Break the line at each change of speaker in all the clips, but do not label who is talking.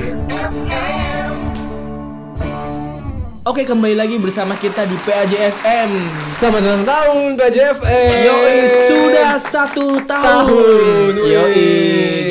PAJFM
Oke kembali lagi bersama kita di PAJFM
Selamat ulang tahun PJFM.
Yoi sudah satu tahun,
Tahun, wih.
Yoi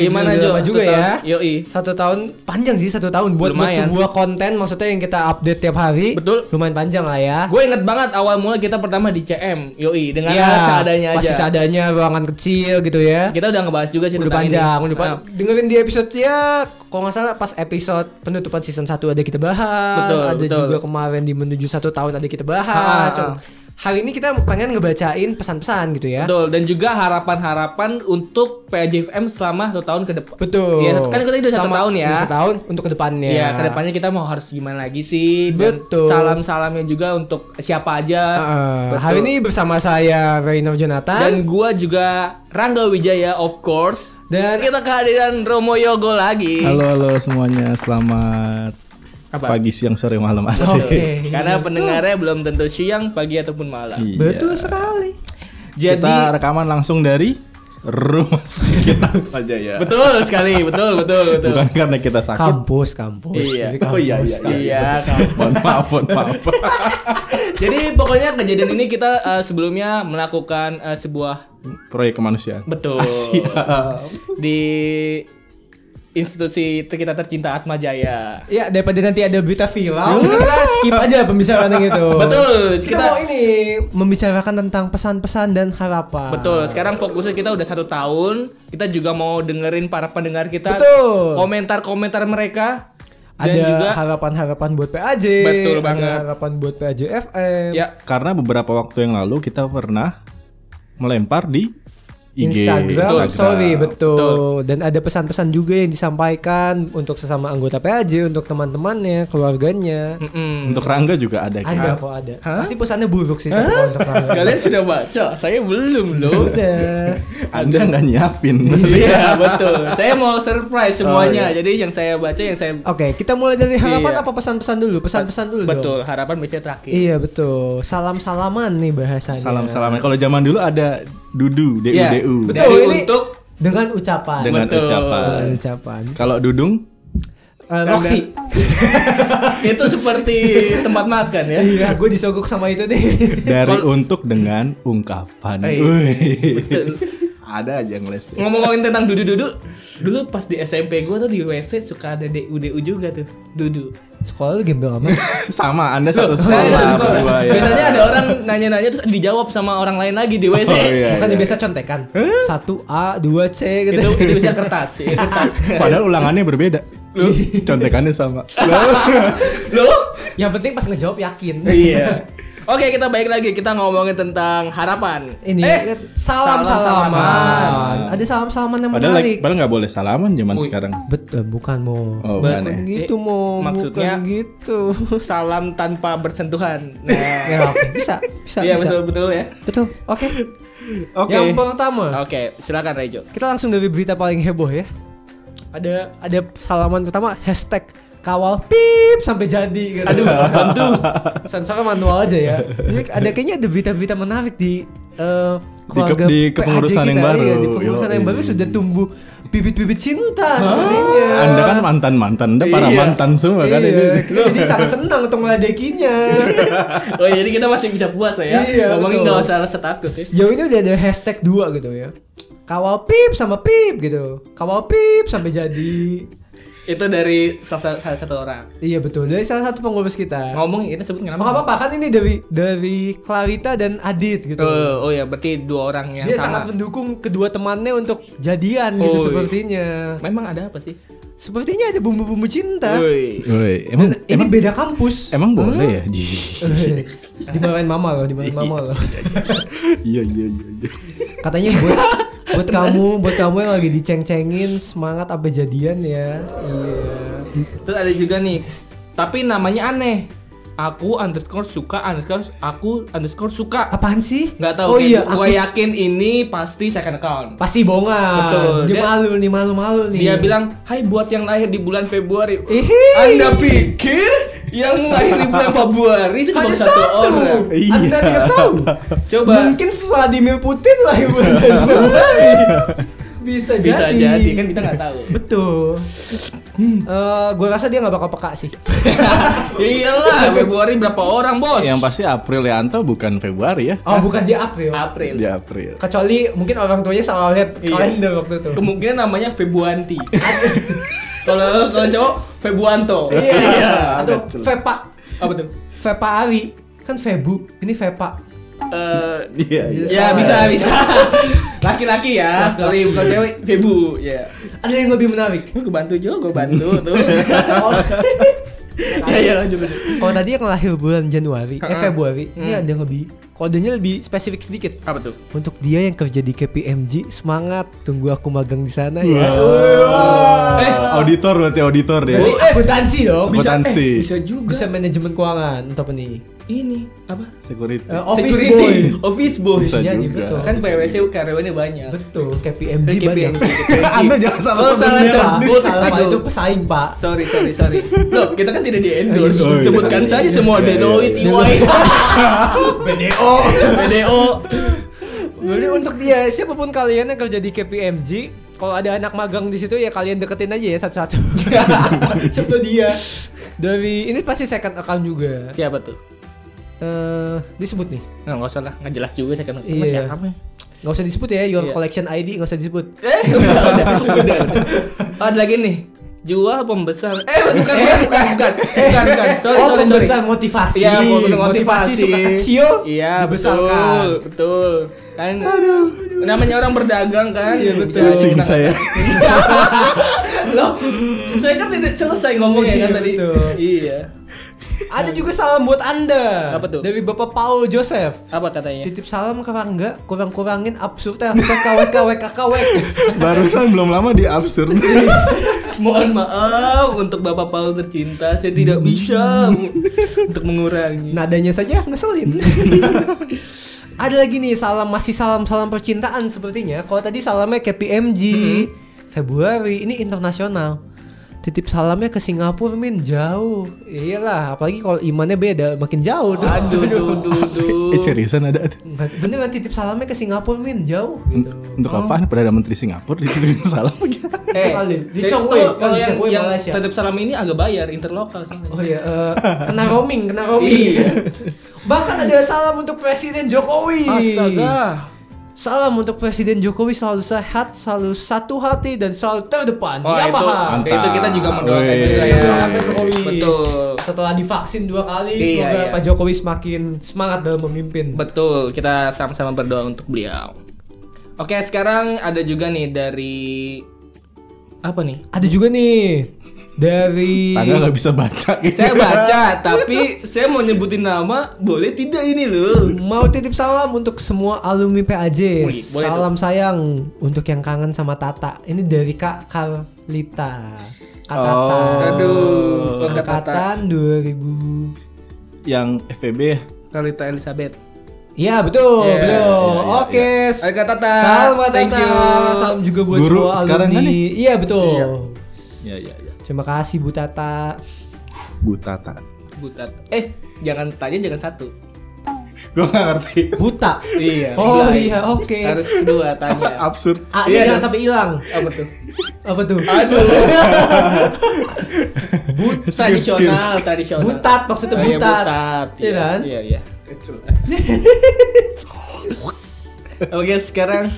Gimana
Udah
Jo?
lama
Satu
juga ya.
tahun. Yoi
Satu tahun panjang sih satu tahun buat, buat
Lumayan.
sebuah konten maksudnya yang kita update tiap hari.
Betul.
Lumayan panjang lah ya.
Gue inget banget awal mula kita pertama di CM Yoi dengan alat ya, seadanya aja
Iya,
Iya,
Masih seadanya ruangan kecil gitu ya.
Kita udah ngebahas juga sih
udah
tentang
panjang,
ini
udah panjang.
Nah,
Dengerin di episode ya, kalau nggak salah pas episode penutupan season 1 ada kita bahas,
Betul,
ada
betul.
juga kemarin di menuju satu tahun ada kita bahas.
Ha, ha.
Hari ini kita pengen ngebacain pesan-pesan gitu ya.
Betul dan juga harapan-harapan untuk PAJFM selama satu tahun ke depan
Betul.
Iya, kan kita udah satu
Sama-
tahun ya.
udah Satu tahun untuk kedepannya.
Iya, kedepannya kita mau harus gimana lagi sih? Dan
Betul.
Salam-salamnya juga untuk siapa aja.
Heeh.
Betul.
hari ini bersama saya Reynor
dan
Jonathan
gua juga Rangga Wijaya of course. Dan
Dan-
kita kehadiran Romo Yogo lagi.
Halo halo semuanya, selamat
Apa?
pagi, siang, sore, malam asik.
Oke. Karena pendengarnya belum tentu siang, pagi ataupun malam.
Iya.
betul sekali.
Jadi
Kita rekaman langsung dari rumah sakit Atma Jaya.
betul ya. sekali, betul betul betul.
Bukan karena kita sakit.
Kampus, kampus.
Iya.
Jadi kampus.
Oh iya iya.
Iya, kampus.
mohon maaf, mohon maaf.
Jadi pokoknya kejadian ini kita eh, sebelumnya melakukan eh, sebuah
Proyek kemanusiaan.
betul
Siap.
di institusi kita tercinta Atma Jaya.
Ya daripada nanti ada berita viral, kita skip aja pembicaraan yang itu.
Iya. Betul,
Kita,
kita-
mau ini membicarakan tentang pesan-pesan dan harapan.
Betul, sekarang fokusnya kita udah satu tahun Kita juga mau dengerin para pendengar kita
Betul.
Komentar-komentar mereka Dan
Ada
juga
harapan-harapan buat PAJ.
Betul
ada
banget.
harapan buat PAJ FM.
Ya,
Karena beberapa waktu yang lalu kita pernah melempar di IG,
Instagram, story betul.
Betul.
dan ada pesan-pesan juga yang disampaikan untuk sesama anggota PAJ untuk teman-temannya keluarganya
mm-mm.
Untuk Rangga juga ada. kan?
ada kok ada pasti pesannya buruk sih tapi kalau untuk Rangga.
Kalian sudah baca, saya belum loh
Udah.
Anda nggak nyiapin.
Iya, betul Saya mau surprise semuanya
Oh, iya.
Jadi yang saya baca, yang saya
oke kita mulai dari harapan
Iya.
apa pesan-pesan dulu pesan-pesan dulu dong.
Betul, harapan biasanya terakhir
iya betul salam-salaman nih bahasanya
Salam-salaman. Kalau zaman dulu ada Dudu, DU,
Iya, betul.
Betul,
DU.
Dari
ini-
untuk
dengan ucapan
Dengan
Betul.
ucapan.
Dengan ucapan
Kalau Dudung
Eh, Roxy
Itu seperti tempat makan ya
iya gue disogok sama itu deh
dari untuk dengan ungkapan.
Eh,
Wih. Ada aja yang les. ya.
Ngomong-ngomongin tentang dudu-dudu Dulu pas di SMP gue tuh di WC suka ada DU-DU juga tuh Dudu
sekolah lu gembel amat
Sama, Anda satu
Saya
sekolah berdua ya.
gitu. Biasanya ada orang nanya-nanya terus dijawab sama orang lain lagi di WC.
Oh, iya,
Bukan
iya.
biasa contekan. Satu A, dua C gitu.
Itu itu bisa kertas, ya, kertas.
Padahal ulangannya berbeda. Lu contekannya sama.
Loh?
Yang penting pas ngejawab yakin.
Iya. Oke, kita balik lagi. Kita ngomongin tentang harapan.
Ini
Eh,
salam
salam-salaman.
salaman. Ada salam salaman yang
Padahal like,
menarik.
padahal nggak boleh salaman zaman
Wih.
sekarang.
Betul, eh, bukan mau.
Oh,
But-
aneh.
Gitu
Eh,
mau.
maksudnya-
bukan gitu.
salam tanpa bersentuhan. Nah.
ya, oke. bisa, bisa,
Iya,
bisa.
betul betul ya.
Betul. Oke.
Oke.
Yang pertama,
Oke, silakan Rejo.
kita langsung dari berita paling heboh ya. Ada ada salaman pertama hashtag kawal pip sampai jadi gitu. Aduh, bantu. Sensornya manual aja ya. Ini ada kayaknya ada berita-berita menarik di eh, keluarga
di
PAJ
kepengurusan yang baru.
Iya, di kepengurusan yang
Yoi.
baru sudah tumbuh bibit-bibit cinta sepertinya.
Anda kan mantan-mantan, Anda para
Iya.
mantan semua kan
iya,
ini.
kita jadi sangat senang untuk ngeledekinya.
Oh, jadi kita masih bisa puas lah ya.
Iya,
Ngomongin
betul.
enggak usah rasa takut ya.
Sejauh ini udah ada hashtag dua gitu ya. Kawal pip sama pip gitu. Kawal pip sampai jadi.
Itu dari salah salah satu orang.
Iya betul. Dari salah satu pengurus kita.
Ngomong kita sebut
Emang
kenapa?
apa apa kan ini dari dari Clarita dan Adit gitu.
Eh, oh ya, berarti dua orang yang
Dia
sama.
sangat mendukung kedua temannya untuk jadian gitu
Oi.
sepertinya.
Memang ada apa sih?
Sepertinya ada bumbu-bumbu cinta.
Woi.
Woi, emang
Ini beda kampus.
emang boleh ya? Ji?
Eh, dimarahin mama loh, dimarahin mama loh.
Iya iya iya. iya.
Katanya buat buat kamu, buat kamu yang lagi diceng-cengin semangat apa jadian ya. Iya.
Terus ada juga nih, tapi namanya aneh. Aku underscore suka underscore aku underscore suka.
Apaan sih?
Nggak tahu.
Oh iya,
gue
aku-
yakin ini pasti second account.
Pasti bohongan.
Betul.
Dia,
Dia-
malu nih, malu-malu nih.
Dia bilang, Hai buat yang lahir di bulan Februari.
Ihi.
Anda pikir yang lahir di bulan Februari itu cuma
Ada
satu, orang?
Iya.
Anda tidak tahu.
Coba.
Mungkin Vladimir Putin lah ibu jadi Februari. bisa Iya, jadi.
Bisa jadi, kan kita nggak tahu.
Betul. Eh, gue rasa dia nggak bakal peka sih.
Ya Iyalah, Februari berapa orang, Bos?
Yang pasti April Yanto bukan Februari ya.
Oh bukan dia April.
April.
Di April.
Kecuali mungkin orang tuanya salah lihat
Iya.
kalender waktu itu.
Kemungkinan namanya Febuanti. kalau kalau cowok Febuanto.
Iya. Atau
Betul.
Vepa,
Apa tuh?
Vepa Ari kan Febu, ini Vepa.
Eh,
Iya. iya.
ya
Salah.
bisa bisa. Laki-laki ya, kalau ibu- kalau cewek Febu ya.
Ada yang lebih menarik.
Gue kebantu juga, gue bantu tuh.
Oh.
ya ya lanjut. lanjut.
Kalau tadi yang lahir bulan Januari, eh
Heeh.
Februari, ini
Hmm.
ada yang lebih kodenya lebih spesifik sedikit.
Apa tuh?
Untuk dia yang kerja di KPMG, semangat tunggu aku magang di sana ya.
Iya.
Wah.
Eh.
Iya. auditor berarti auditor ya.
Berarti akuntansi dong.
Bisa- Akuntansi.
bisa juga.
Bisa manajemen keuangan atau apa nih?
ini apa?
Security.
Eh, office
Security.
boy.
Office boy.
Bisa
jadi
juga.
betul.
Kan PwC karyawannya banyak.
Betul, KPMG
Eh,
banyak.
KPMG.
Anda jangan salah
Oh,
sebut
salah
merek.
salah.
Aduh,
Gua-
salah Pak,
aduh.
itu pesaing pak.
Sorry, sorry, sorry. Loh, kita kan tidak di endorse.
Oh,
iya.
Sebutkan
Iya,
saja
iya.
semua
Iya, iya.
Deloitte, EY, BDO, BDO.
Jadi untuk dia siapapun kalian yang kerja di KPMG, kalau ada anak magang di situ ya kalian deketin aja ya satu-satu. Siapa dia? Dari ini pasti second account juga.
Siapa tuh?
Eh, disebut nih.
Nah, nggak usah lah, nggak jelas juga saya kan.
Iya.
Iya. Siapa?
Nggak usah disebut ya, your
Iya.
collection ID nggak usah disebut.
Eh, udah, udah, udah. Oh, ada lagi nih. Jual pembesar. Eh, bukan, bukan, bukan, bukan, bukan, bukan. Sorry,
oh,
sorry, sorry.
pembesar motivasi.
Iya, motivasi.
motivasi suka kecil,
Iya,
dibesarkan.
betul, betul. Kan namanya orang berdagang kan.
Iya, betul.
Pusing
Nah,
saya.
Loh, saya kan tidak selesai ngomongnya
Iya,
kan tadi.
betul.
Iya.
Ada juga salam buat Anda.
Apa tuh? Iya.
Dari Bapak Paul Joseph.
Apa katanya?
Titip salam ke Rangga, kurang-kurangin absurdnya PKWKWKKWK.
Barusan belum lama di absurd.
Mohon maaf untuk Bapak Paul tercinta, saya tidak bisa mu- untuk mengurangi.
Nadanya saja ngeselin. Ada lagi nih salam masih salam-salam percintaan sepertinya. Kalau tadi salamnya KPMG, Februari, ini internasional. Titip salamnya ke Singapura min jauh. Iyalah, apalagi kalau imannya beda makin jauh. dong.
aduh, aduh, aduh, aduh.
eh seriusan ada. ada.
Beneran titip salamnya ke Singapura min jauh gitu.
Untuk
Oh.
apaan Perdana Menteri Singapura dititipin salam lagi.
Itu kali. Di
jadi- Eh,
Chongwei,
oh, kalau
di
yang,
Chongwei,
yang
Malaysia.
tetap salam ini agak bayar interlokal. soalnya.
Oh iya, eh, kena roaming, kena roaming.
Iya.
Bahkan ada salam untuk Presiden Jokowi.
Astaga.
Salam untuk Presiden Jokowi selalu sehat, selalu satu hati dan selalu terdepan.
Wah, itu,
Yamaha.
Iya, itu kita juga
Mantap.
mendoakan
Wih.
juga ya.
Doakan Jokowi.
Betul.
Setelah divaksin dua kali,
Iya,
semoga
iya.
Pak Jokowi semakin semangat dalam memimpin.
Betul, kita sama-sama berdoa untuk beliau. Oke, sekarang ada juga nih dari apa nih?
Ada juga nih dari
Anda nggak bisa baca. gitu.
Iya. Saya baca, tapi saya mau nyebutin nama, boleh tidak ini loh?
mau titip salam untuk semua alumni PAJ.
Wih, boleh tuh.
salam sayang untuk yang kangen sama Tata. Ini dari Kak Karlita. Kak Tata.
Oh.
Aduh, Kak Tata.
Angkatan 2000
Yang FPB ya.
Kalita Elizabeth.
Iya betul,
Iya,
betul.
iya, iya,
Oke.
Ayo Kak Tata.
Salam buat
Thank
Tata.
you.
Salam juga buat
Guru
semua
sekarang
alumni.
kan nih?
Iya betul.
Iya,
Ya ya ya.
Terima kasih Bu Tata.
Bu Tata.
Butat. Eh, jangan tanya jangan satu.
Gue nggak ngerti.
Buta.
Iya.
Oh iya, oke.
Harus dua tanya.
Absurd.
Iya,
A Ah, jangan
dong.
sampai hilang.
Apa tuh?
Apa tuh?
Aduh.
Bu-
Skip, skip,
tradisional,
skip.
tradisional.
butat maksudnya
Oh, iya,
butat.
butat.
Iya kan?
Iya, iya. Oke, sekarang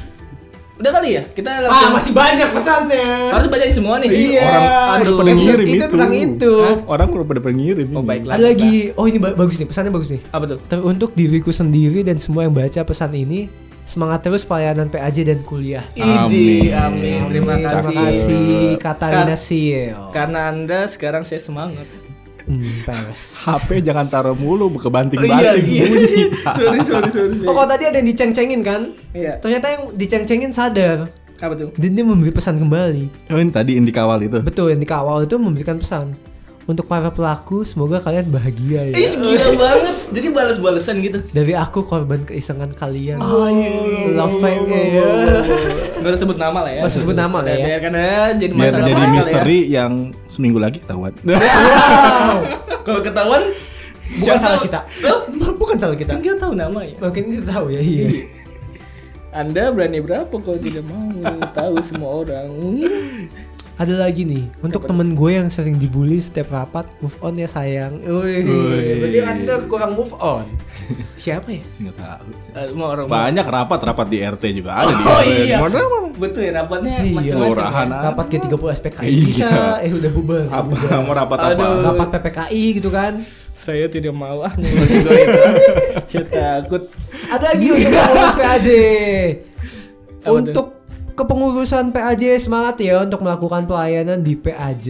udah kali ya? Kita
Ah,
langsung
masih banyak pesannya.
harus bacain semua nih.
Iya.
Orang
Aduh.
pada ngirim
Episode kita
itu.
tentang itu.
Hah? Orang pada pada ngirim.
Oh,
ini.
baiklah.
Ada lagi. Oh, ini ba- bagus nih, pesannya bagus nih.
Apa tuh?
Teruntuk diriku sendiri dan semua yang baca pesan ini, semangat terus pelayanan PAJ dan kuliah.
Idi,
Amin.
amin. Terima
Amin,
kasih.
Terima kasih Katarina
Kat-
Sil.
Karena Anda sekarang saya semangat.
Hmm, peres.
HP jangan taruh mulu
iya,
kebanting-banting
iya.
bunyi.
sorry, sorry, sorry.
Oh, kalau tadi ada yang diceng-cengin kan?
Iya.
Ternyata yang diceng-cengin sadar
Apa tuh?
dan dia memberi pesan kembali.
Oh, ini tadi yang dikawal itu.
Betul, yang dikawal itu memberikan pesan. Untuk para pelaku, semoga kalian bahagia ya.
Ih, gila banget. Jadi balas-balasan gitu.
Dari aku korban keisengan kalian. Oh, Love fake. ya.
Gak usah sebut nama lah ya.
Gak usah sebut nama lah ya.
Biarkan aja jadi
Biar
masalah.
jadi
kali ya.
misteri yang seminggu lagi ketahuan.
Wow.
Kalau ketahuan
Bukan
siapa-
salah kita.
Loh,
Bukan salah kita.
kan kita tahu nama ya.
Mungkin kita tahu ya, iya.
Anda berani berapa kalau tidak mau tahu semua orang?
Ada lagi nih untuk temen gue yang sering dibully setiap rapat, move on ya sayang. Wih,
Wih.
berarti kan anda kurang move on. Siapa ya?
Nggak tahu sih.
Eh, Semua orang.
Banyak rapat-rapat di RT juga ada di
Oh
RT.
iya.
Mana
Betul ya rapatnya
Iya.
macam-macam.
Kelurahan.
ya.
Rapat ke 30 SPKI
Iya.
bisa, eh udah bubar.
apa
bubar.
mau rapat apa?
Aduh.
Rapat PPKI gitu kan.
Saya tidak mau ah nyoba juga itu. Saya takut.
Ada lagi untuk pengurus PAJ.
Apa Iya. tuh?
untuk kepengurusan PAJ semangat ya untuk melakukan pelayanan di PAJ.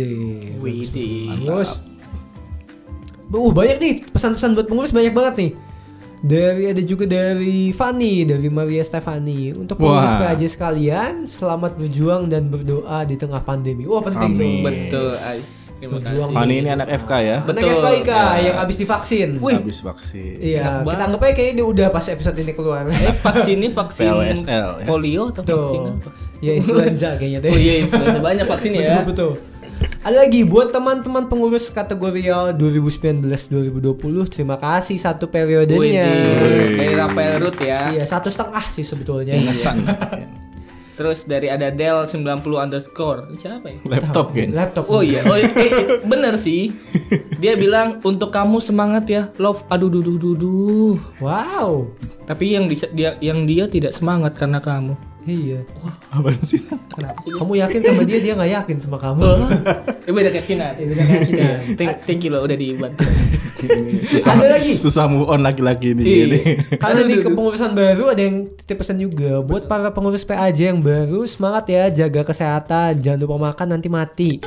Widih.
Terus Uh banyak nih pesan-pesan buat pengurus banyak banget nih. Dari ada juga dari Fanny, dari Maria Stefani. Untuk pengurus
Wah.
PAJ sekalian, selamat berjuang dan berdoa di tengah pandemi. Wah penting tuh.
Amin.
Betul, Ais. Terima
Berjuang.
kasih.
Hani ini anak FK ya.
Anak
Betul. Iya.
FKIK yang habis divaksin.
Wih.
Habis vaksin.
Iya,
Enak
kita
banget.
anggap aja kayaknya dia udah pas episode ini keluar.
Eh, vaksin ini vaksin
PLSL, ya?
polio atau vaksin
Tuh.
apa?
Ya influenza kayaknya deh.
Oh iya, influenza. banyak vaksin ya.
Betul, betul. Ada lagi buat teman-teman pengurus kategorial 2019-2020, terima kasih satu periodenya.
Widih. Dari Rafael Ruth ya.
Iya, satu setengah sih sebetulnya.
Iya.
Iya.
Ingesan.
Terus dari ada Del 90 underscore. Siapa ya?
Laptop kayaknya.
Laptop.
Oh iya, oh iya. Eh, eh, bener sih. Dia bilang untuk kamu semangat ya, love. Aduh, duh, duh, duh, duh.
Wow.
Tapi yang disa- dia yang dia tidak semangat karena kamu.
Iya.
Apaan sih?
Kenapa sih?
Kamu yakin sama dia, dia nggak yakin sama kamu.
Eh, beda keyakinan.
Ya, beda keyakinan.
Thank, thank you loh udah dibantu.
Susah,
Ada lagi.
Susah move on lagi-lagi nih.
Iya.
dia nih.
Karena
Aduh, aduh,
di
aduh.
kepengurusan baru ada yang titip pesan juga buat para pengurus PAJ yang baru semangat ya jaga kesehatan jangan lupa makan nanti mati.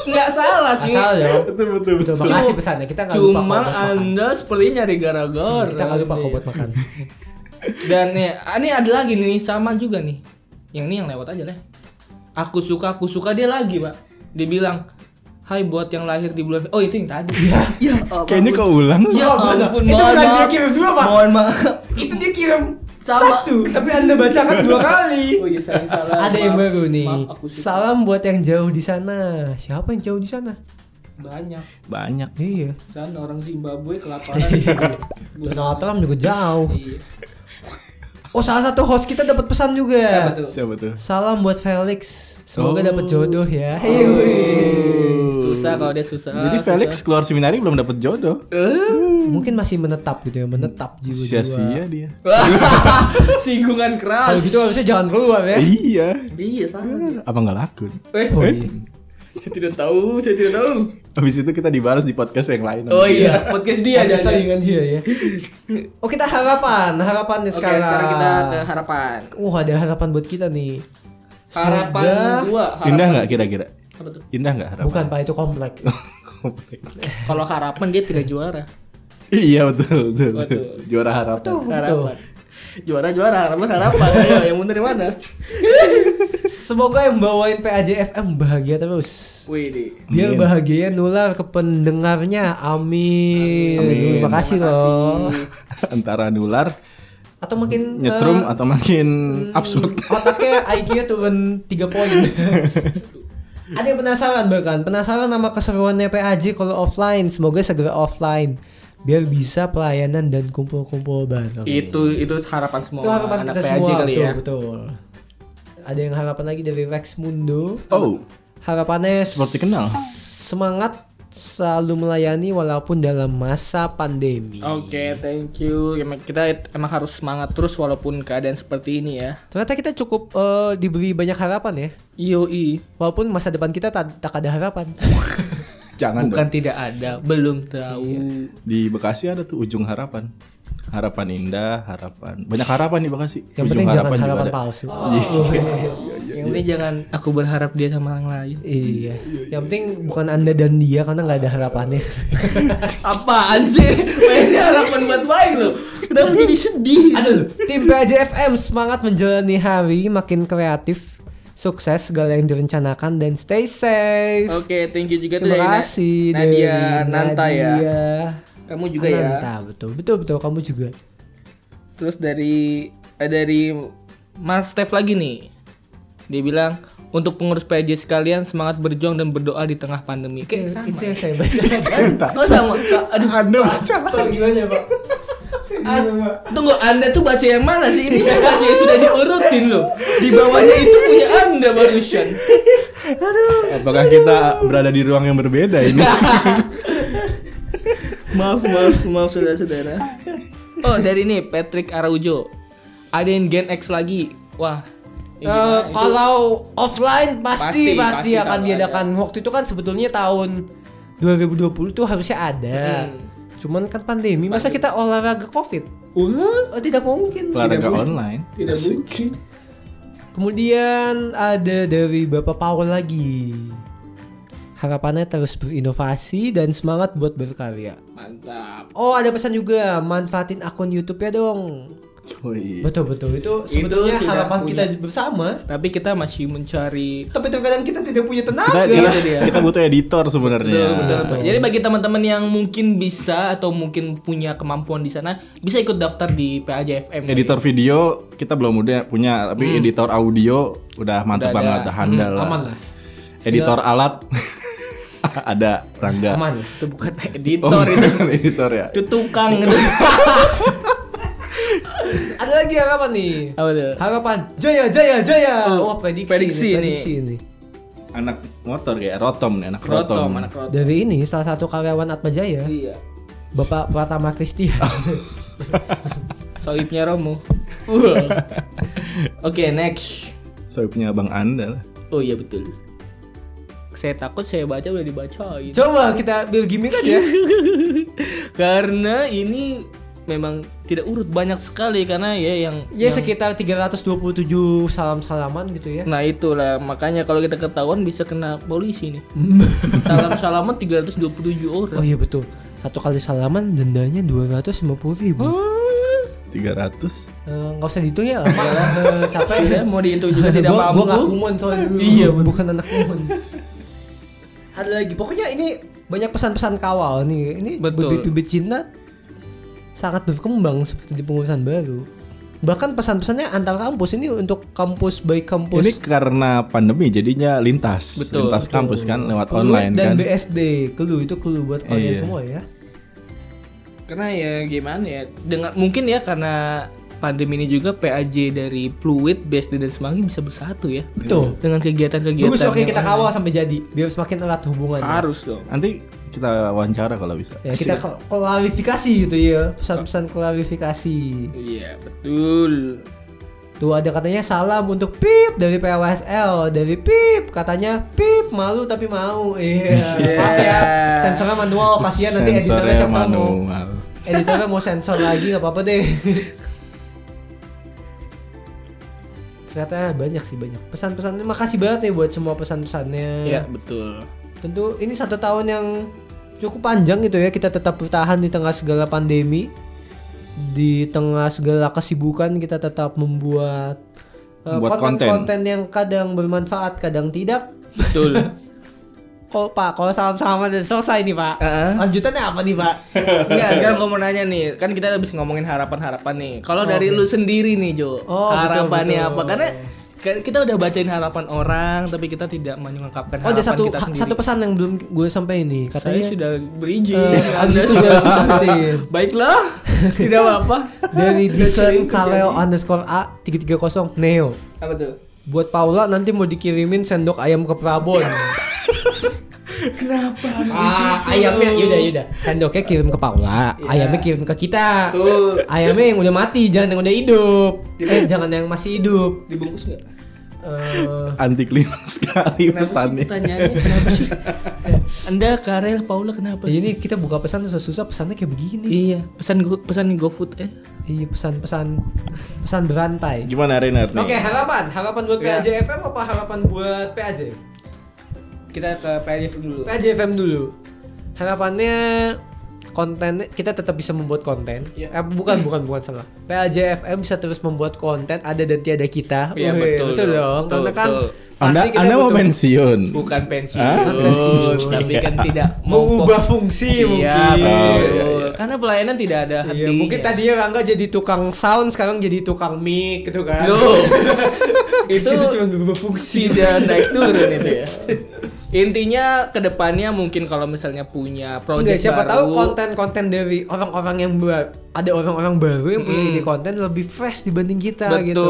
Nggak salah Eh, sih.
Asal ya.
Betul betul
Betul,
betul.
makasih pesannya. Kita nggak
Cuma
lupa kok buat makan.
Anda seperti nyari gara-gara.
Kita nggak lupa kok buat makan.
Dan ya, ini ada lagi nih sama juga nih. Yang ini yang lewat aja lah. Aku suka, aku suka dia lagi, Pak. Dia bilang, "Hai buat yang lahir di bulan Oh, itu yang tadi. Ya, ya. ampun.
Kayaknya keulang.
Ya ampun,
Iya. Itu
mohon
bukan dia
maaf.
kirim dua, Pak.
Mohon maaf.
Itu dia kirim
Sama.
satu, tapi anda bacakan dua kali.
Oh iya, salah, salah.
Ada
Maaf.
yang baru nih.
Maaf, aku suka.
Salam buat yang jauh di sana. Siapa yang jauh di sana?
Banyak.
Banyak.
Iya.
Dan orang Zimbabwe kelaparan.
Donald Trump juga jauh.
Iya.
Oh salah satu host kita dapat pesan juga.
Iya, Betul.
Siapa tuh?
Salam buat Felix. Semoga
Oh.
dapat jodoh ya. Hei, wih.
Susah kalau dia susah. Ah, susah. Eh?
Jadi Felix keluar seminari belum dapet jodoh.
Mungkin masih menetap gitu ya, menetap
Iya,
jiwa-jiwa.
Sia-sia dia.
Singgungan keras.
Kalau gitu harusnya jangan keluar ya.
Iya.
Iya, salah.
Apa nggak laku? nih?
Eh,
Oh, iya.
saya tidak tahu, saya tidak tahu.
Habis itu kita dibalas di podcast yang lain.
Oh iya, podcast dia
Ada
jadi.
saingan dia ya. Oh kita harapan, harapan nih
Oke,
sekarang.
sekarang kita ke harapan.
Wah ada harapan buat kita nih.
Harapan
Semoga-
gua, harapan.
Indah nggak kira-kira?
Apa tuh?
Indah nggak harapan?
Bukan pak itu komplek.
Kompleks.
Kalau harapan dia tidak juara.
iya betul betul.
Waduh.
betul. Juara harapan.
Tuh, betul.
Harapan. Juara juara harapan harapan. Ayo, yang bener yang mana?
Semoga yang bawain PAJ FM bahagia terus.
Wih, di-
Biar
Amin.
bahagia nular ke pendengarnya. Amin.
Amin.
Terima kasih loh.
Antara nular,
Atau makin eh,
nyetrum
hmm.
atau makin absurd.
otaknya IQ-nya turun 3 poin. Ada yang penasaran bahkan, penasaran nama keseruannya PAJ kalau offline. Semoga segera offline biar bisa pelayanan dan kumpul-kumpul bareng.
Itu itu harapan semua
Itu harapan
Iya, anak
kita
PAJ
semua
kali
betul,
ya.
betul. Ada yang harapan lagi dari Rex Mundo.
Oh,
Harapannya s-
seperti kenal.
semangat selalu melayani walaupun dalam masa pandemi.
Oke, thank you. Emang kita emang harus semangat terus walaupun keadaan seperti ini ya.
Ternyata kita cukup eh, diberi banyak harapan ya.
Yoi.
Walaupun masa depan kita tak, tak ada harapan.
Jangan
Bukan
dong.
tidak ada, belum tahu.
Iya.
Di Bekasi ada tuh ujung harapan. Harapan indah, harapan. Banyak harapan di Bekasi.
Yang
ujung
penting jangan
juga
harapan
ada.
palsu.
Yang penting jangan aku berharap dia sama orang lain.
Iya. Yang penting bukan anda dan dia karena nggak ada harapannya.
Apaan sih? Mainnya harapan buat main loh. Kenapa jadi sedih?
Aduh. Tim PJFM semangat menjalani hari makin kreatif, sukses segala yang direncanakan dan stay safe.
Oke, thank you juga tuh
Terima
dari Na-
kasih
Gitu ya, Nadia
dari
Nanta ya.
Nadia
Kamu juga
Nanta,
ya.
betul betul betul kamu juga.
Terus dari eh, dari Mas Steph lagi nih. Dia bilang untuk pengurus PJ sekalian semangat berjuang dan berdoa di tengah pandemi. Kayak sama.
Itu yang saya baca.
Oh sama. Aduh,
Anda baca.
Gimana pak?
Ah, tunggu, Anda tuh baca yang mana sih? Ini saya baca yang sudah diurutin loh. Di bawahnya itu punya Anda barusan.
Apakah kita berada di ruang yang berbeda ini?
maaf, maaf, maaf saudara-saudara. Oh, dari ini Patrick Araujo. Ada yang Gen X lagi. Wah. ini
Eh,
gimana? Itu-
kalau offline pasti
Pasti,
pasti,
pasti
akan
selalu
diadakan. Waktu itu kan sebetulnya tahun 2020 tuh harusnya ada.
Hmm.
Cuman kan pandemi, masa kita olahraga Covid?
Wah,
Oh, tidak mungkin.
Olahraga
boleh.
online.
tidak
Asik.
mungkin.
Kemudian ada dari Bapak Paul lagi. Harapannya terus berinovasi dan semangat buat berkarya.
Mantap.
Oh, ada pesan juga, manfaatin akun YouTube-nya dong.
Woi.
Betul betul itu sebetulnya
sudah
harapan
punya.
kita bersama.
Tapi kita masih mencari
Tapi terkadang kita tidak punya
Kita,
tenaga.
kita,
Itu dia.
kita butuh editor sebenarnya.
Betul, betul, betul. Jadi bagi teman-teman yang mungkin bisa atau mungkin punya kemampuan di sana, bisa ikut daftar di PAJFM.
Editor video kita belum udah punya, tapi editor audio udah
Udah
mantep
ada.
banget, udah handal lah.
Aman lah.
Editor alat ada Rangga.
Aman.
itu bukan editor
Oh,
itu.
editor ya.
Itu tukang itu.
Ada lagi harapan nih.
Apa tuh?
Harapan jaya jaya jaya.
Oh,
Wah, prediksi,
prediksi
nih,
nih.
prediksi ini.
Anak motor kayak Rotom nih, anak Rotom.
Rotom, anak rotom.
Dari ini salah satu karyawan Atma Jaya,
Iya.
Bapak Pratama Kristian.
Soibnya Romo. Wah. Oke, next.
Soibnya Bang Anda lah.
Oh iya betul. Saya takut saya baca udah dibacain.
Coba kita build gimmick aja. Ya,
Karena ini memang tidak urut banyak sekali karena ya yang
Ya sekitar 327 salam-salaman gitu ya.
Nah itulah makanya kalau kita ketahuan bisa kena polisi nih. Salam salaman 327
Oh
orang.
iya betul. Satu kali salaman dendanya 250 ribu.
300.
Eh, Nggak usah dihitung ya, lama lah. Eh, capek
Sudah mau dihitung juga tidak
gua,
mampu.
Gua nggak kumon soalnya dulu.
Iya, betul.
bukan anak kumon. Ada lagi. Pokoknya ini banyak pesan-pesan kawal nih. Ini
Betul.
bibit-bibit Cina sangat berkembang seperti di pengurusan baru. Bahkan pesan-pesannya antar kampus ini untuk kampus by kampus.
Ini karena pandemi jadinya lintas,
Betul,
lintas
betul.
kampus kan lewat
Keluit
online
dan
kan.
BSD clue itu clue buat kalian
Iya.
semua ya
Karena ya gimana ya dengan mungkin ya karena pandemi ini juga PAJ dari Pluit, BSD dan Semanggi bisa bersatu ya.
betul
Dengan kegiatan-kegiatan.
bagus oke
yang
kita
lain.
kawal sampai jadi biar semakin erat hubungannya
Iya, Harus dong.
Nanti kita wawancara kalau bisa.
ya kita kla- klarifikasi gitu ya pesan-pesan klarifikasi
Iya betul.
tuh ada katanya salam untuk pip dari PWSL dari pip katanya pip malu tapi mau iya maaf ya sensornya manual kasihan nanti editornya
Sensornya
siapa mau
manual.
editornya mau sensor lagi nggak apa-apa deh ternyata banyak sih banyak pesan-pesannya makasih banget nih buat semua pesan-pesannya
Iya betul.
tentu ini satu tahun yang cukup panjang gitu ya kita tetap bertahan di tengah segala pandemi di tengah segala kesibukan kita tetap membuat uh,
Buat konten.
konten-konten yang kadang bermanfaat kadang tidak
Betul.
kok pak kalau salam-salaman udah selesai nih pak
Heeh.
lanjutannya apa nih pak Oh,
Enggak, sekarang gue mau nanya nih, kan kita habis ngomongin harapan-harapan nih. Kalau dari lu sendiri nih, Jo,
Oh, betul,
harapannya
betul.
apa? Karena kan kita udah bacain harapan orang, tapi kita tidak mengungkapkan
oh
harapan
ada satu
kita
ha-
sendiri.
satu pesan yang belum gue sampai nih
Saya
katanya
sudah berizin.
Eh,
Anda
abis itu
sudah-
gue sebutin.
Baiklah, tidak apa-apa.
dari
Sudah sering
Deacon Kaleo
terjadi.
underscore A 330 Neo
Apa tuh?
buat Paula nanti mau dikirimin sendok ayam ke Prabon
Kenapa?
Ah, ayamnya yaudah yaudah. Sendoknya kirim ke Paula, ayamnya kirim ke kita.
Tuh.
Ayamnya yang udah mati, jangan yang udah hidup. Eh, jangan yang masih hidup.
Dibungkus nggak?
Eh,
Anti klimaks sekali
Kenapa sih
pesannya.
pertanyaannya? Kenapa sih? Anda Karel Paula kenapa?
ini kita buka pesan susah-susah pesannya kayak begini.
Iya, pesan go, pesan GoFood eh.
Iya, pesan-pesan pesan berantai.
Gimana Renard nih?
Oke, harapan. Harapan buat
Iya.
PAJ FM apa harapan buat PAJ?
Kita ke PLF dulu.
PAJ FM dulu. Harapannya konten kita tetap bisa membuat konten.
Iya.
Eh, bukan bukan bukan salah. PAJ FM bisa terus membuat konten ada dan tiada kita.
Iya,
Wih,
betul dong.
dong.
Betul,
Karena kan
betul.
Anda
pasti kita
Anda mau
butuh
pensiun.
bukan pensiun,
Ah,
pensiun.
tapi kan tidak mau
Oh, iya. mengubah
fokus-
fungsi
iya,
mungkin.
betul.
Oh, iya, iya.
karena pelayanan tidak ada hati
Iya, mungkin tadi ya Rangga jadi tukang sound sekarang jadi tukang mic gitu kan.
Loh. itu
itu cuma berubah fungsi.
tidak naik turun itu ya Intinya kedepannya mungkin kalau misalnya punya project
Enggak, siapa
baru,
tahu konten-konten dari orang-orang yang ber- ada orang-orang baru yang punya ide konten lebih fresh dibanding kita
Betul,
gitu.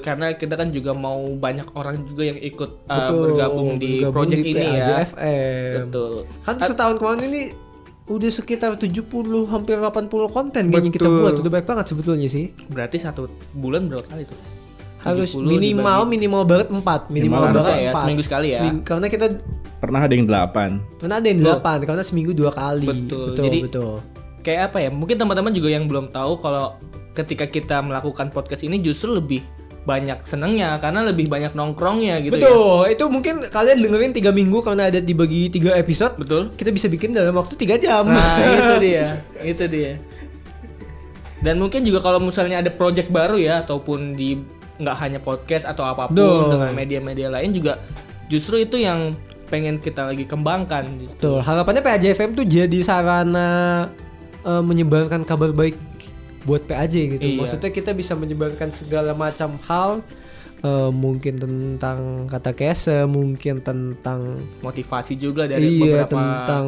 karena kita kan juga mau banyak orang juga yang ikut uh,
Betul,
bergabung di
bergabung
project ini ya.
PAJFM.
Betul.
Kan setahun kemarin ini udah sekitar 70 hampir 80 konten kayaknya kita
Betul.
buat udah banyak banget sebetulnya sih.
Berarti satu bulan berapa kali tuh?
Harus
70
minimal
dibagi-
minimal banget 4, minimal,
Minimal
banget
harusnya ya,
4.
seminggu sekali ya.
karena kita
Pernah ada yang delapan.
pernah ada yang 8, karena seminggu dua kali.
Betul,
betul.
jadi-
betul.
kayak apa ya? Mungkin teman-teman juga yang belum tahu kalau ketika kita melakukan podcast ini justru lebih banyak senengnya karena lebih banyak nongkrongnya gitu ya.
Betul, itu mungkin kalian dengerin 3 minggu karena ada dibagi 3 episode.
Betul.
Kita bisa bikin dalam waktu 3 jam.
Nah, itu dia. Itu dia. Dan mungkin juga kalau misalnya ada project baru ya ataupun di nggak hanya podcast atau apapun
Betul.
dengan media-media lain juga justru itu yang pengen kita lagi kembangkan gitu.
Betul, harapannya PAJFM tuh jadi sarana eh, menyebarkan kabar baik buat PAJ gitu.
Iya.
Maksudnya kita bisa menyebarkan segala macam hal eh, mungkin tentang kata kese, mungkin tentang
Motivasi juga dari beberapa
iya
Iya.
tentang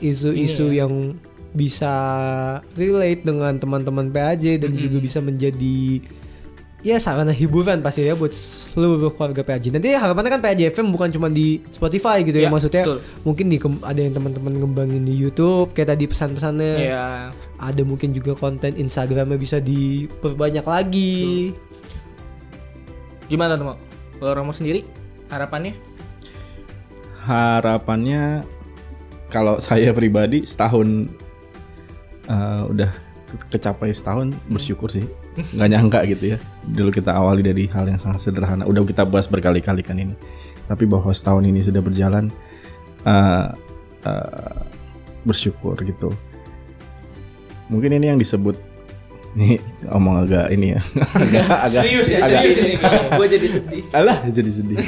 isu-isu yang bisa relate dengan teman-teman PAJ dan juga bisa menjadi ya sarana hiburan pasti ya buat seluruh keluarga PAJ. Nanti harapannya kan PAJ FM bukan cuma di Spotify gitu ya,
Ya,
maksudnya
betul.
mungkin di kem- ada yang teman-teman ngembangin di YouTube kayak tadi pesan-pesannya.
Iya.
Ada mungkin juga konten Instagramnya bisa diperbanyak lagi.
Gimana teman? Kalau Romo sendiri harapannya?
Harapannya kalau saya pribadi setahun eh, udah ke- kecapai setahun bersyukur sih. Nggak nyangka gitu ya. Dulu kita awali dari hal yang sangat sederhana. Udah kita bahas berkali-kali kan ini. Tapi bahwa setahun ini sudah berjalan eh, eh, bersyukur gitu. Mungkin ini yang disebut ini omong agak ini ya. agak agak agak-
ini gue jadi sedih.
Alah, jadi sedih.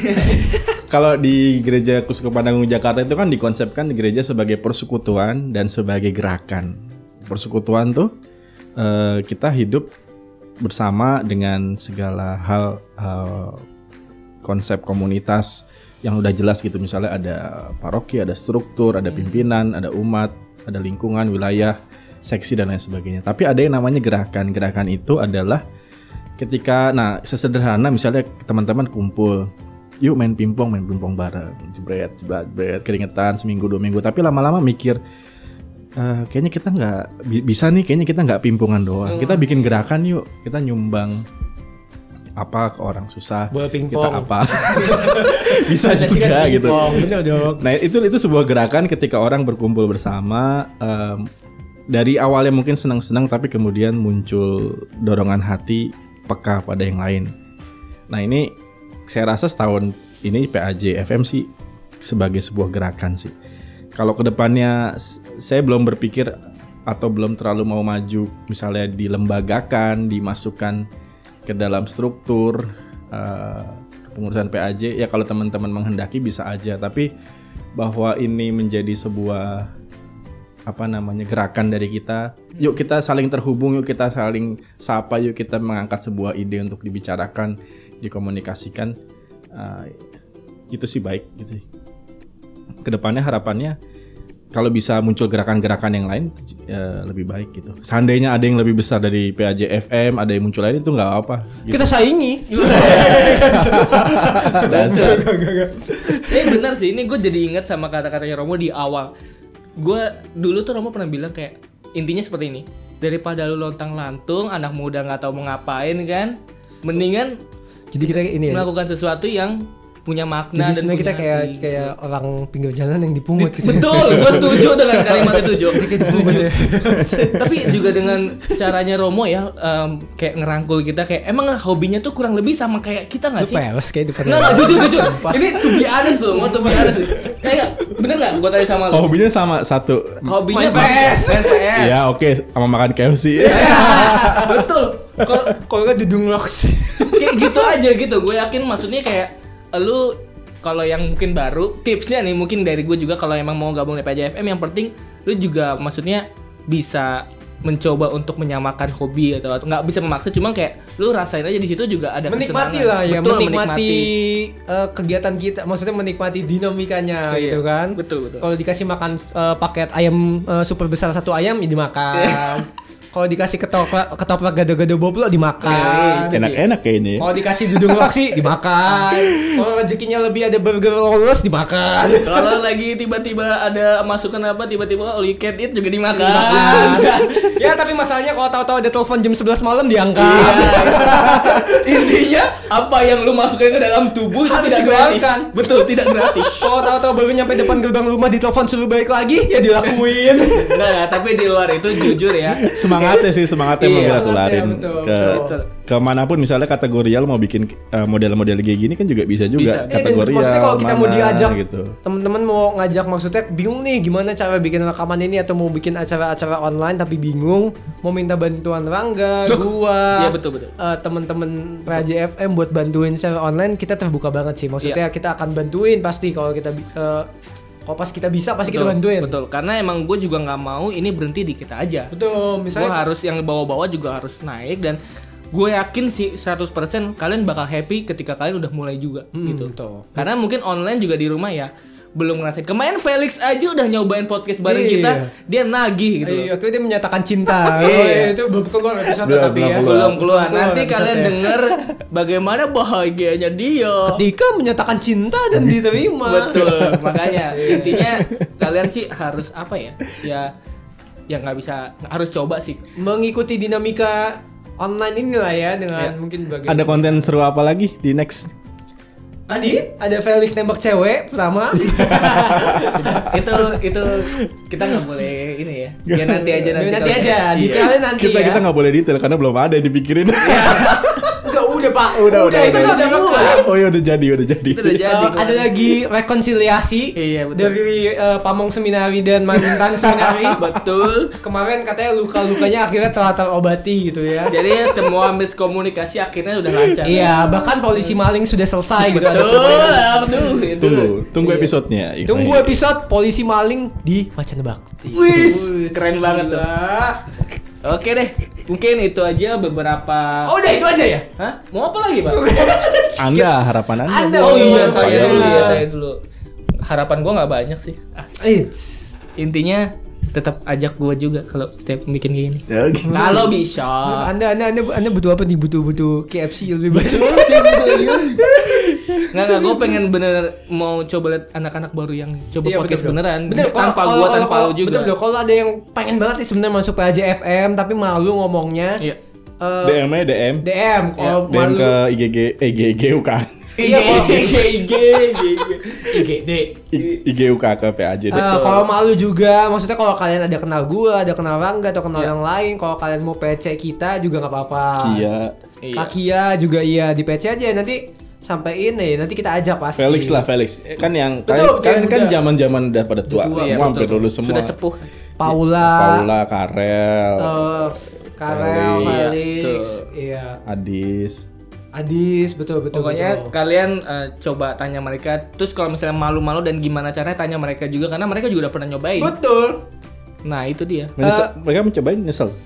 Kalau di gereja Kuskupan Agung Jakarta itu kan dikonsepkan di gereja sebagai persekutuan dan sebagai gerakan. Persekutuan tuh eh, kita hidup bersama dengan segala hal eh, konsep komunitas yang udah jelas gitu. Misalnya ada paroki, ada struktur, ada pimpinan, ada umat, ada lingkungan, wilayah, seksi dan lain sebagainya. Tapi ada yang namanya gerakan. Gerakan itu adalah ketika nah sesederhana misalnya teman-teman kumpul yuk main pingpong main pingpong bareng jebret jebret jebret keringetan seminggu dua minggu tapi lama-lama mikir "Eh, kayaknya kita nggak bi- bisa nih kayaknya kita nggak pimpongan doang kita bikin
Hmm.
gerakan yuk kita nyumbang apa ke orang susah
Bola
kita
pingpong.
apa bisa juga gitu
Pingpong, Iya, kan? Bener dong.
Nah itu itu sebuah gerakan ketika orang berkumpul bersama em, dari awalnya mungkin senang-senang tapi kemudian muncul dorongan hati peka pada yang lain. Nah ini saya rasa setahun ini PAJ FM sih sebagai sebuah gerakan sih. Kalau kedepannya s- saya belum berpikir atau belum terlalu mau maju misalnya dilembagakan, dimasukkan ke dalam struktur eh, kepengurusan PAJ ya kalau teman-teman menghendaki bisa aja tapi bahwa ini menjadi sebuah apa namanya gerakan dari kita yuk kita saling terhubung yuk kita saling sapa yuk kita mengangkat sebuah ide untuk dibicarakan dikomunikasikan eh, itu sih baik gitu sih kedepannya harapannya kalau bisa muncul gerakan-gerakan yang lain itu, eh, lebih baik gitu. Seandainya ada yang lebih besar dari PAJ FM, ada yang muncul lain itu nggak apa. Gitu.
Kita saingi. iya,
Dasar.
Ini benar sih, ini gue jadi ingat sama kata-katanya Romo di awal. Gue dulu tuh Romo pernah bilang kayak intinya seperti ini. Daripada lu lontang lantung, anak muda nggak tahu mau ngapain kan, mendingan
Jadi kita ini ya.
melakukan sesuatu yang punya makna
Jadi
punya
sebenarnya kita kayak
arti.
kayak orang pinggir jalan yang dipungut
gitu.
gitu.
Betul, gue setuju dengan kalimat itu Jo. Setuju. Tapi juga dengan caranya Romo ya, em, kayak ngerangkul kita kayak emang hobinya tuh kurang lebih sama kayak kita nggak
Lu
sih?
peles kayak di
Nggak, nggak, jujur, jujur. Ini to be honest loh, mau to be honest. Kayak nggak, bener nggak gue tanya sama lo?
Hobinya sama satu.
Hobinya
Main PS.
Main PS.
Iya.
Ya oke, sama makan KFC.
Betul. Kalau
Kalau nggak dudung locks.
kayak gitu aja gitu, gue yakin maksudnya kayak lu kalau yang mungkin baru tipsnya nih mungkin dari gue juga kalau emang mau gabung di PJFM yang penting lu juga maksudnya bisa mencoba untuk menyamakan hobi atau atau nggak bisa memaksa cuma kayak lu rasain aja di situ juga ada
menikmati
kesenangan.
lah ya
Betul,
menikmati, eh, kegiatan kita maksudnya menikmati dinamikanya
Iya,
gitu kan
betul, betul.
kalau dikasih makan eh, paket ayam eh, super besar satu ayam ya
Iya.
dimakan kalau dikasih ketoprak ketoprak gado-gado boblo
Iya,
dimakan
Enak-enak kayaknya ya.
kalau dikasih dudung loksi dimakan kalau rezekinya lebih ada burger lolos dimakan
kalau lagi tiba-tiba ada masukan apa tiba-tiba all you can eat juga dimakan Iya.
Dimakan. ya tapi masalahnya kalau tahu-tahu ada telepon jam 11 malam
Iya.
diangkat
intinya apa yang lu masukin ke dalam tubuh itu
Harus
tidak
dikeluarkan.
gratis betul tidak gratis
kalau tahu-tahu baru nyampe depan gerbang rumah ditelepon suruh balik lagi ya dilakuin
Enggak, enggak, tapi di luar itu jujur ya.
Semangatnya sih semangatnya
Iya,
mau kita
semangatnya,
tularin
ya, betul,
ke
betul.
kemanapun misalnya kategori lu mau bikin eh, model-model kayak gini kan juga bisa juga
Bisa.
Iya, dan
kategori ya,
maksudnya kalau kita mau
mana,
diajak
gitu.
teman-teman mau ngajak maksudnya bingung nih gimana cara bikin rekaman ini atau mau bikin acara-acara online tapi bingung mau minta bantuan Rangga, gua,
Iya, betul, betul.
eh, teman-teman PJFM buat bantuin secara online kita terbuka banget sih
Iya.
maksudnya kita akan bantuin pasti kalau kita bi- eh, kalau pas kita bisa pasti kita
Betul,
bantuin
Betul, karena emang gue juga nggak mau ini berhenti di kita aja.
Betul,
Gue
misalnya
harus yang bawa-bawa juga harus naik dan gue yakin sih 100% kalian bakal happy ketika kalian udah mulai juga gitu.
betul.
Karena mungkin online juga di rumah ya belum ngerasain. Kemarin Felix aja udah nyobain podcast bareng
Iya.
kita, dia nagih gitu.
Iya, akhirnya dia menyatakan cinta. Oh,
Iya.
itu belum keluar episode
Belum,
tapi ya.
belum,
Belum keluar. Nanti
episode
kalian
ya.
denger bagaimana bahagianya dia.
ketika menyatakan cinta dan diterima.
betul makanya
Iya.
intinya kalian sih harus apa ya ya ya nggak bisa harus coba sih
mengikuti dinamika online inilah ya
Ya.
dengan mungkin bagian
Ada konten seru apa lagi di next?
tadi ada Felix nembak cewek pertama
itu itu kita nggak boleh ini ya ya nanti aja nanti
nanti
kalau-
aja
Iya.
detailnya nanti
kita
ya Iya,
kita nggak boleh detail karena belum ada yang dipikirin.
udah udah pak
udah, udah,
itu
udah.
udah nembak
oh ya udah jadi, udah jadi.
itu udah Iya, jadi
Eh, ada lagi rekonsiliasi
Iya, betul.
dari eh, Pamong Seminari dan mantan Seminari.
betul
Kemarin katanya luka-lukanya akhirnya telah terobati gitu ya.
jadi semua miskomunikasi akhirnya udah lancar
Iya, bahkan polisi maling sudah selesai gitu. Ada
betul betul itu
tunggu, tunggu episodenya.
Iya.
Iya,
Iya,
Tunggu episode polisi maling di Wacana Bakti.
Wih, keren banget tuh.
Gila.
oke deh mungkin itu aja beberapa
Oh, udah itu aja ya.
Hah? mau apa lagi pak
Anda harapan Anda.
Anda.
oh iya
Saya
saya dulu
dulu.
iya saya dulu harapan gua nggak banyak sih Ah,
Eits.
intinya tetap ajak gua juga kalau setiap bikin gini
Ya, oke.
kalau bisa
Anda, anda, anda, anda butuh apa nih? Butuh, butuh KFC lebih banyak. Iya,
nggak nggak gue pengen bener mau coba lihat anak-anak baru yang coba
Iya,
podcast
betul, betul.
beneran
Bener, kalau-
tanpa
kalau-
gua
kalau-
tanpa lu
kalau-
juga
Betul, betul. Kalau ada yang pengen banget nih sebenarnya masuk PAJ FM tapi malu ngomongnya.
iya
eh,
DM-nya DM.
DM kalau
DM
malu.
ke IGG eh, IGG UK.
Iya, kalau-
IG IG IGD
IG UK ke PAJ
Eh,
deh.
kalau malu juga, maksudnya kalau kalian ada kenal gua, ada kenal Rangga atau kenal yang lain, kalau kalian mau PC kita juga nggak apa-apa.
Iya.
Iya. Iya.
Kakia juga iya di PC aja nanti sampein ya, nanti kita ajak pasti.
Felix lah Felix. Eh, Kan yang
Betul,
kalian
yang
kan
muda.
zaman-zaman udah pada tua,
Udah tua,
Iya,
semua hampir
betul,
dulu
betul.
semua. Iya,
sudah sepuh Oh.
Paula,
Paula, Karel,
eh, Karel,
Felix.
Felix,
Betul.
iya.
Adis.
Adis, betul betul.
Pokoknya
betul.
kalian eh, coba tanya mereka. Terus kalau misalnya malu-malu dan gimana caranya tanya mereka juga karena mereka juga udah pernah nyobain.
Betul.
Nah itu dia.
Menyesal- mereka mencobain nyesel.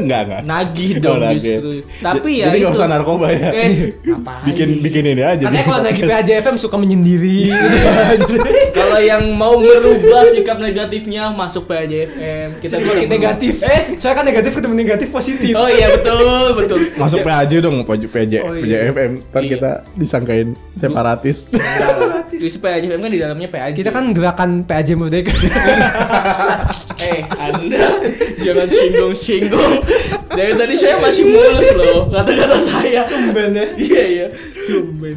Enggak, enggak.
Nagih dong
Oh, nagih.
justru.
J-
Tapi ya
Jadi nggak
itu.
usah narkoba ya.
Eh,
bikin bikin ini aja.
Katanya kalau lagi PAJFM suka menyendiri.
Iya. Kalau yang mau merubah sikap negatifnya masuk PJFM. Kita
Jadi
bisa
makin
merubah.
negatif.
Eh,
Soalnya kan negatif ketemu negatif positif.
oh iya betul betul.
Masuk PAJ dong, PAJ, PAJ,
Oh, iya.
FM. Ntar
Iya.
kita disangkain separatis.
Di PJFM kan di dalamnya PAJ.
Kita kan gerakan PAJ Merdeka.
eh Anda jangan singgung-singgung. Dari tadi saya masih mulus loh kata-kata saya. Tumben ya. Iya iya. Tumben.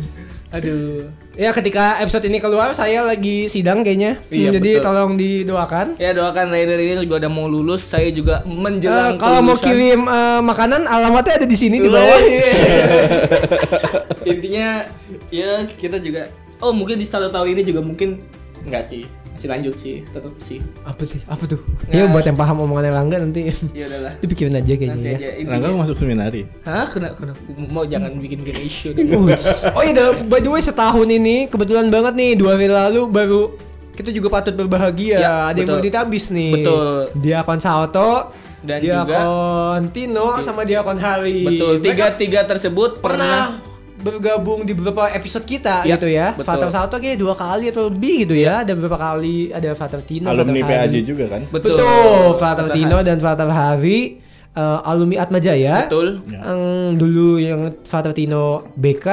Aduh.
ya ketika episode ini keluar saya lagi sidang kayaknya.
Iya,
Hmm, Jadi
betul.
tolong didoakan.
Ya doakan Raider ini juga udah mau lulus, saya juga
Eh,
menjelang
kalau mau
kelulusan.
kirim eh, makanan alamatnya ada di sini di bawah.
intinya ya kita juga oh mungkin di start tahun ini juga mungkin enggak sih masih lanjut sih tetap sih
apa sih? Apa tuh?
Nah.
Ya buat yang paham omongan Rangga nanti
ya udahlah
dipikirin aja
nanti
kayaknya ya.
aja
Rangga
intinya
mau masuk seminari.
Iya. hah kena kena mau jangan bikin bikin isu deh
Uts. Oh iya, dah. by the way setahun ini kebetulan banget nih dua hari lalu baru kita juga patut berbahagia.
Ya,
ada yang
betul.
mau ditabis nih.
Betul.
Dia Sauto
dan juga
Diakon Tino sama Diakon Hari.
betul
Mereka
tiga tiga tersebut
pernah
pernah,
bergabung di beberapa episode kita
Iya,
gitu ya.
betul.
Fatam Salto kayak dua kali atau lebih gitu ya. Ada beberapa kali ada Fatam Tino,
Iya,
Alumni
Fatam Hari.
PAJ juga kan?
Betul. Fatam Tino dan Fatam Hari eh, alumni Atmajaya.
betul
Yang dulu yang Fatam Tino BK,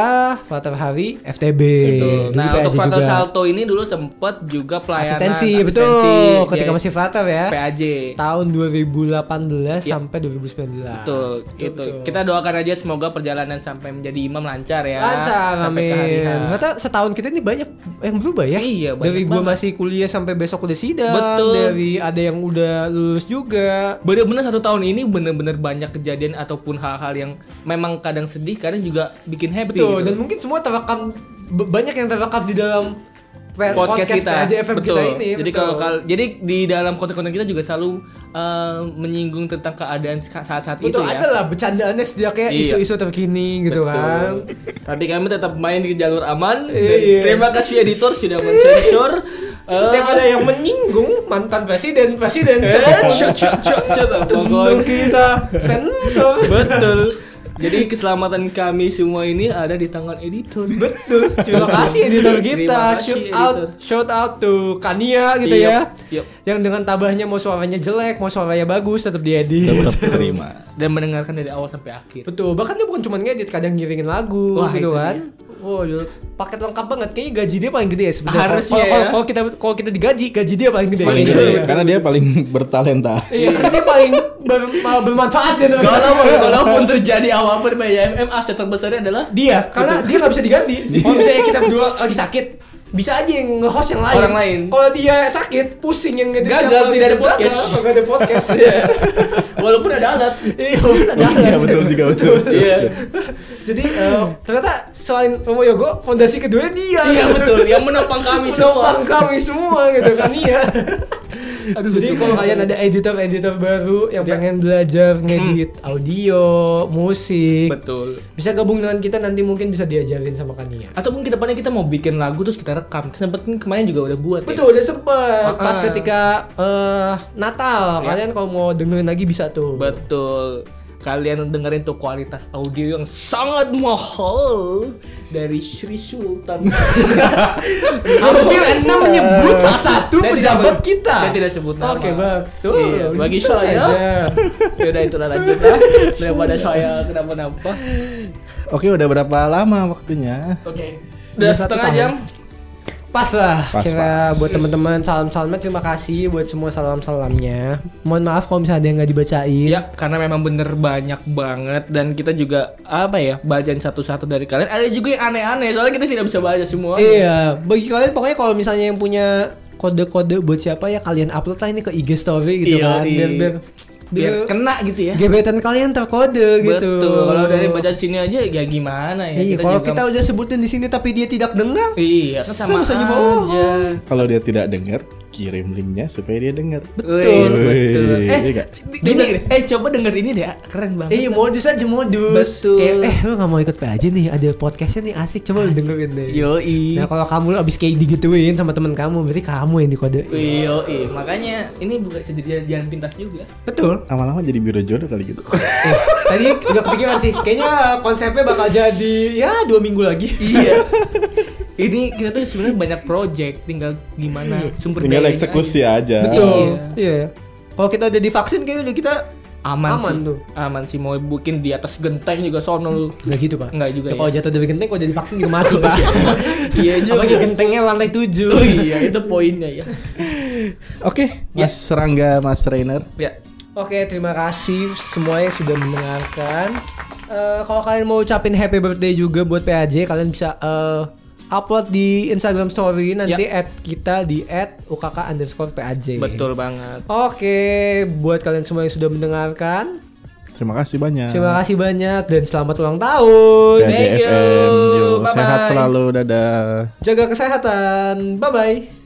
Fatam Hari FTB.
Betul.
Dulu
Nah
PAJ
untuk Fatal
juga.
Salto Nah, ini dulu sempet juga pelayanan
asistensi, betul. Ketika
ya,
masih Fatam ya.
PAJ.
tahun 2018 sampai 2019.
Iya. Betul, gitu.
betul.
Kita doakan aja semoga perjalanan sampai menjadi imam lancar ya.
Lancar,
sampai ke hari
amin.
H.
Ternyata setahun kita ini banyak yang berubah ya.
Iya, banyak
Dari gua
banget.
masih kuliah sampai besok udah sidang.
Betul.
Dari ada yang udah lulus juga.
Bener-bener satu tahun ini bener-bener banyak kejadian ataupun hal-hal yang memang kadang sedih, kadang juga bikin happy.
Betul.
gitu.
Dan mungkin semua terekam b- banyak yang terekam di dalam pe-
podcast, kita.
PRJFM
betul.
kita ini.
Jadi
betul.
kalau kal- jadi di dalam konten-konten kita juga selalu eh, menyinggung tentang keadaan sa- saat-saat itu
betul
ya.
ada lah bercandaannya setidaknya
Iya.
isu-isu terkini gitu kan.
Tapi kami tetap main di jalur aman. Dan
Iya.
Terima kasih editor sudah mensensor.
Setiap
Eh,
ada yang menyinggung mantan presiden, presiden,
eh, syut, syut, syut, syut,
tentu
pokoknya.
kita sensor.
Betul. Jadi keselamatan kami semua ini ada di tangan editor.
Betul. Terima kasih editor kita.
Terima kasih,
Shout
editor. Iya,
out, shout out to Kania gitu
Yep,
ya.
yep.
Yang dengan tabahnya mau suaranya jelek, mau suaranya bagus tetap diedit.
Tetap terima.
Dan mendengarkan dari awal sampai akhir.
Betul. Bahkan dia bukan cuma ngedit, kadang ngiringin lagu
Wah,
gitu
itu
kan. Wow, dia paket lengkap banget. Kayaknya gaji dia paling gede ya sebenarnya. Kalau-
Harusnya
kalau-
ya.
Kalau kita kalau kita digaji, gaji dia paling gede.
Paling
Iya,
gede. ya.
Iya.
Karena dia paling bertalenta.
Iya, karena dia paling ber- malah bermanfaat dia. terhadap
Kalaupun,
kita semua.
kalaupun terjadi apapun ya, pada IMM, aset terbesarnya adalah
dia, karena dia nggak bisa diganti. Kalau misalnya kita berdua lagi sakit, bisa aja yang nge-host yang lain.
Orang lain.
Kalau dia sakit, pusing yang ngedit
Gagal, tidak
siapa,
ada
gagal,
podcast. Iya.
nggak ada podcast.
walaupun ada alat.
Iya, betul,
Iya betul juga betul.
Iya.
Jadi eh, ternyata selain Romo Yogo, fondasi kedua dia.
Iya betul, yang menopang kami
Menopang
semua.
kami semua gitu kan iya.
Aduh,
Jadi
lucu
kalau
banget.
kalian ada editor-editor baru yang
Ya.
pengen belajar ngedit audio, musik,
Betul.
bisa gabung dengan kita nanti mungkin bisa diajarin sama Kania.
Ataupun kedepannya kita mau bikin lagu terus kita rekam. Sempet kan kemarin juga udah buat. ya.
Betul, udah sempet pas
Heeh.
ketika eh,
Ya.
Natal. Kalian kalau mau dengerin lagi bisa tuh.
Betul. Kalian dengerin tuh kualitas audio yang sangat mahal dari Sri Sultan.
Hampir Anda menyebut salah satu
Saya tidak
pejabat
ber-
kita.
saya tidak sebut nama.
Oke, betul.
Iya, bagi
Gitu
saya-
saja.
Yaudah itulah lanjut lah daripada saya kenapa-napa.
Oke udah berapa lama waktunya?
Oke.
Udah
Udah
satu
setengah
tahun.
jam.
Pas lah.
Pas,
Kira buat teman-teman salam-salamnya terima kasih buat semua salam-salamnya. Mohon maaf kalau misalnya ada yang nggak dibacain.
Ya, karena memang bener banyak banget dan kita juga apa ya bacaan satu-satu dari kalian. Ada juga yang aneh-aneh soalnya kita tidak bisa baca semua.
Iya, bagi kalian pokoknya kalau misalnya yang punya kode-kode buat siapa ya kalian upload lah ini ke IG story gitu
Iya,
kan.
iya.
Biar, biar, biar,
Biar kena gitu ya.
gebetan kalian terkode gitu.
Betul. Kalau dari bacaan sini aja ya gimana ya?
Iya, kalau
juga-
kita udah sebutin di sini tapi dia tidak dengar.
Iya, kan sama
Sama saja
aja.
bohong.
Kalau dia tidak dengar, kirim linknya supaya dia dengar.
Betul. betul.
Wih,
Eh,
iya nggak?
gini, gini, eh coba denger ini deh, keren banget.
Iya, modus aja modus.
Betul.
Kayak, eh lu gak mau ikut PAJ nih, ada podcastnya nih asik, coba lu dengerin deh.
Iya. Yoi.
Nah kalau kamu abis kayak digituin sama temen kamu, berarti kamu yang dikode.
Yoi. Makanya ini bukan jadi jalan pintas juga.
Betul.
Lama-lama jadi biro jodoh kali gitu.
Eh, tadi udah kepikiran sih, kayaknya konsepnya bakal jadi ya dua minggu lagi.
Iya. ini kita tuh sebenarnya banyak project, tinggal gimana sumber
Tinggal
dayanya
eksekusi
aja.
aja.
Betul. Iya. Kalau kita udah divaksin kayaknya udah kita
Aman,
Aman
sih.
tuh.
Aman sih mau bikin di atas genteng juga sono lu.
nggak gitu pak.
Nggak juga
Ya, Kalau
ya.
jatuh dari genteng, kalau jadi vaksin juga mati pak.
Iya juga.
Apalagi gentengnya lantai tujuh.
Oh iya, itu poinnya ya.
Oke, Mas Serangga, Mas Rainer.
Ya.
Oke, terima kasih semuanya yang sudah mendengarkan. Eh, kalau kalian mau ucapin happy birthday juga buat PAJ, kalian bisa eh, upload di Instagram Story nanti at kita di at UKK underscore PAJ.
Betul banget.
Oke, buat kalian semua yang sudah mendengarkan,
Terima kasih banyak.
terima kasih banyak dan selamat ulang tahun.
Thank you.
PAJFM. Yo,
Bye-bye.
sehat selalu. Dadah.
Jaga kesehatan. Bye bye.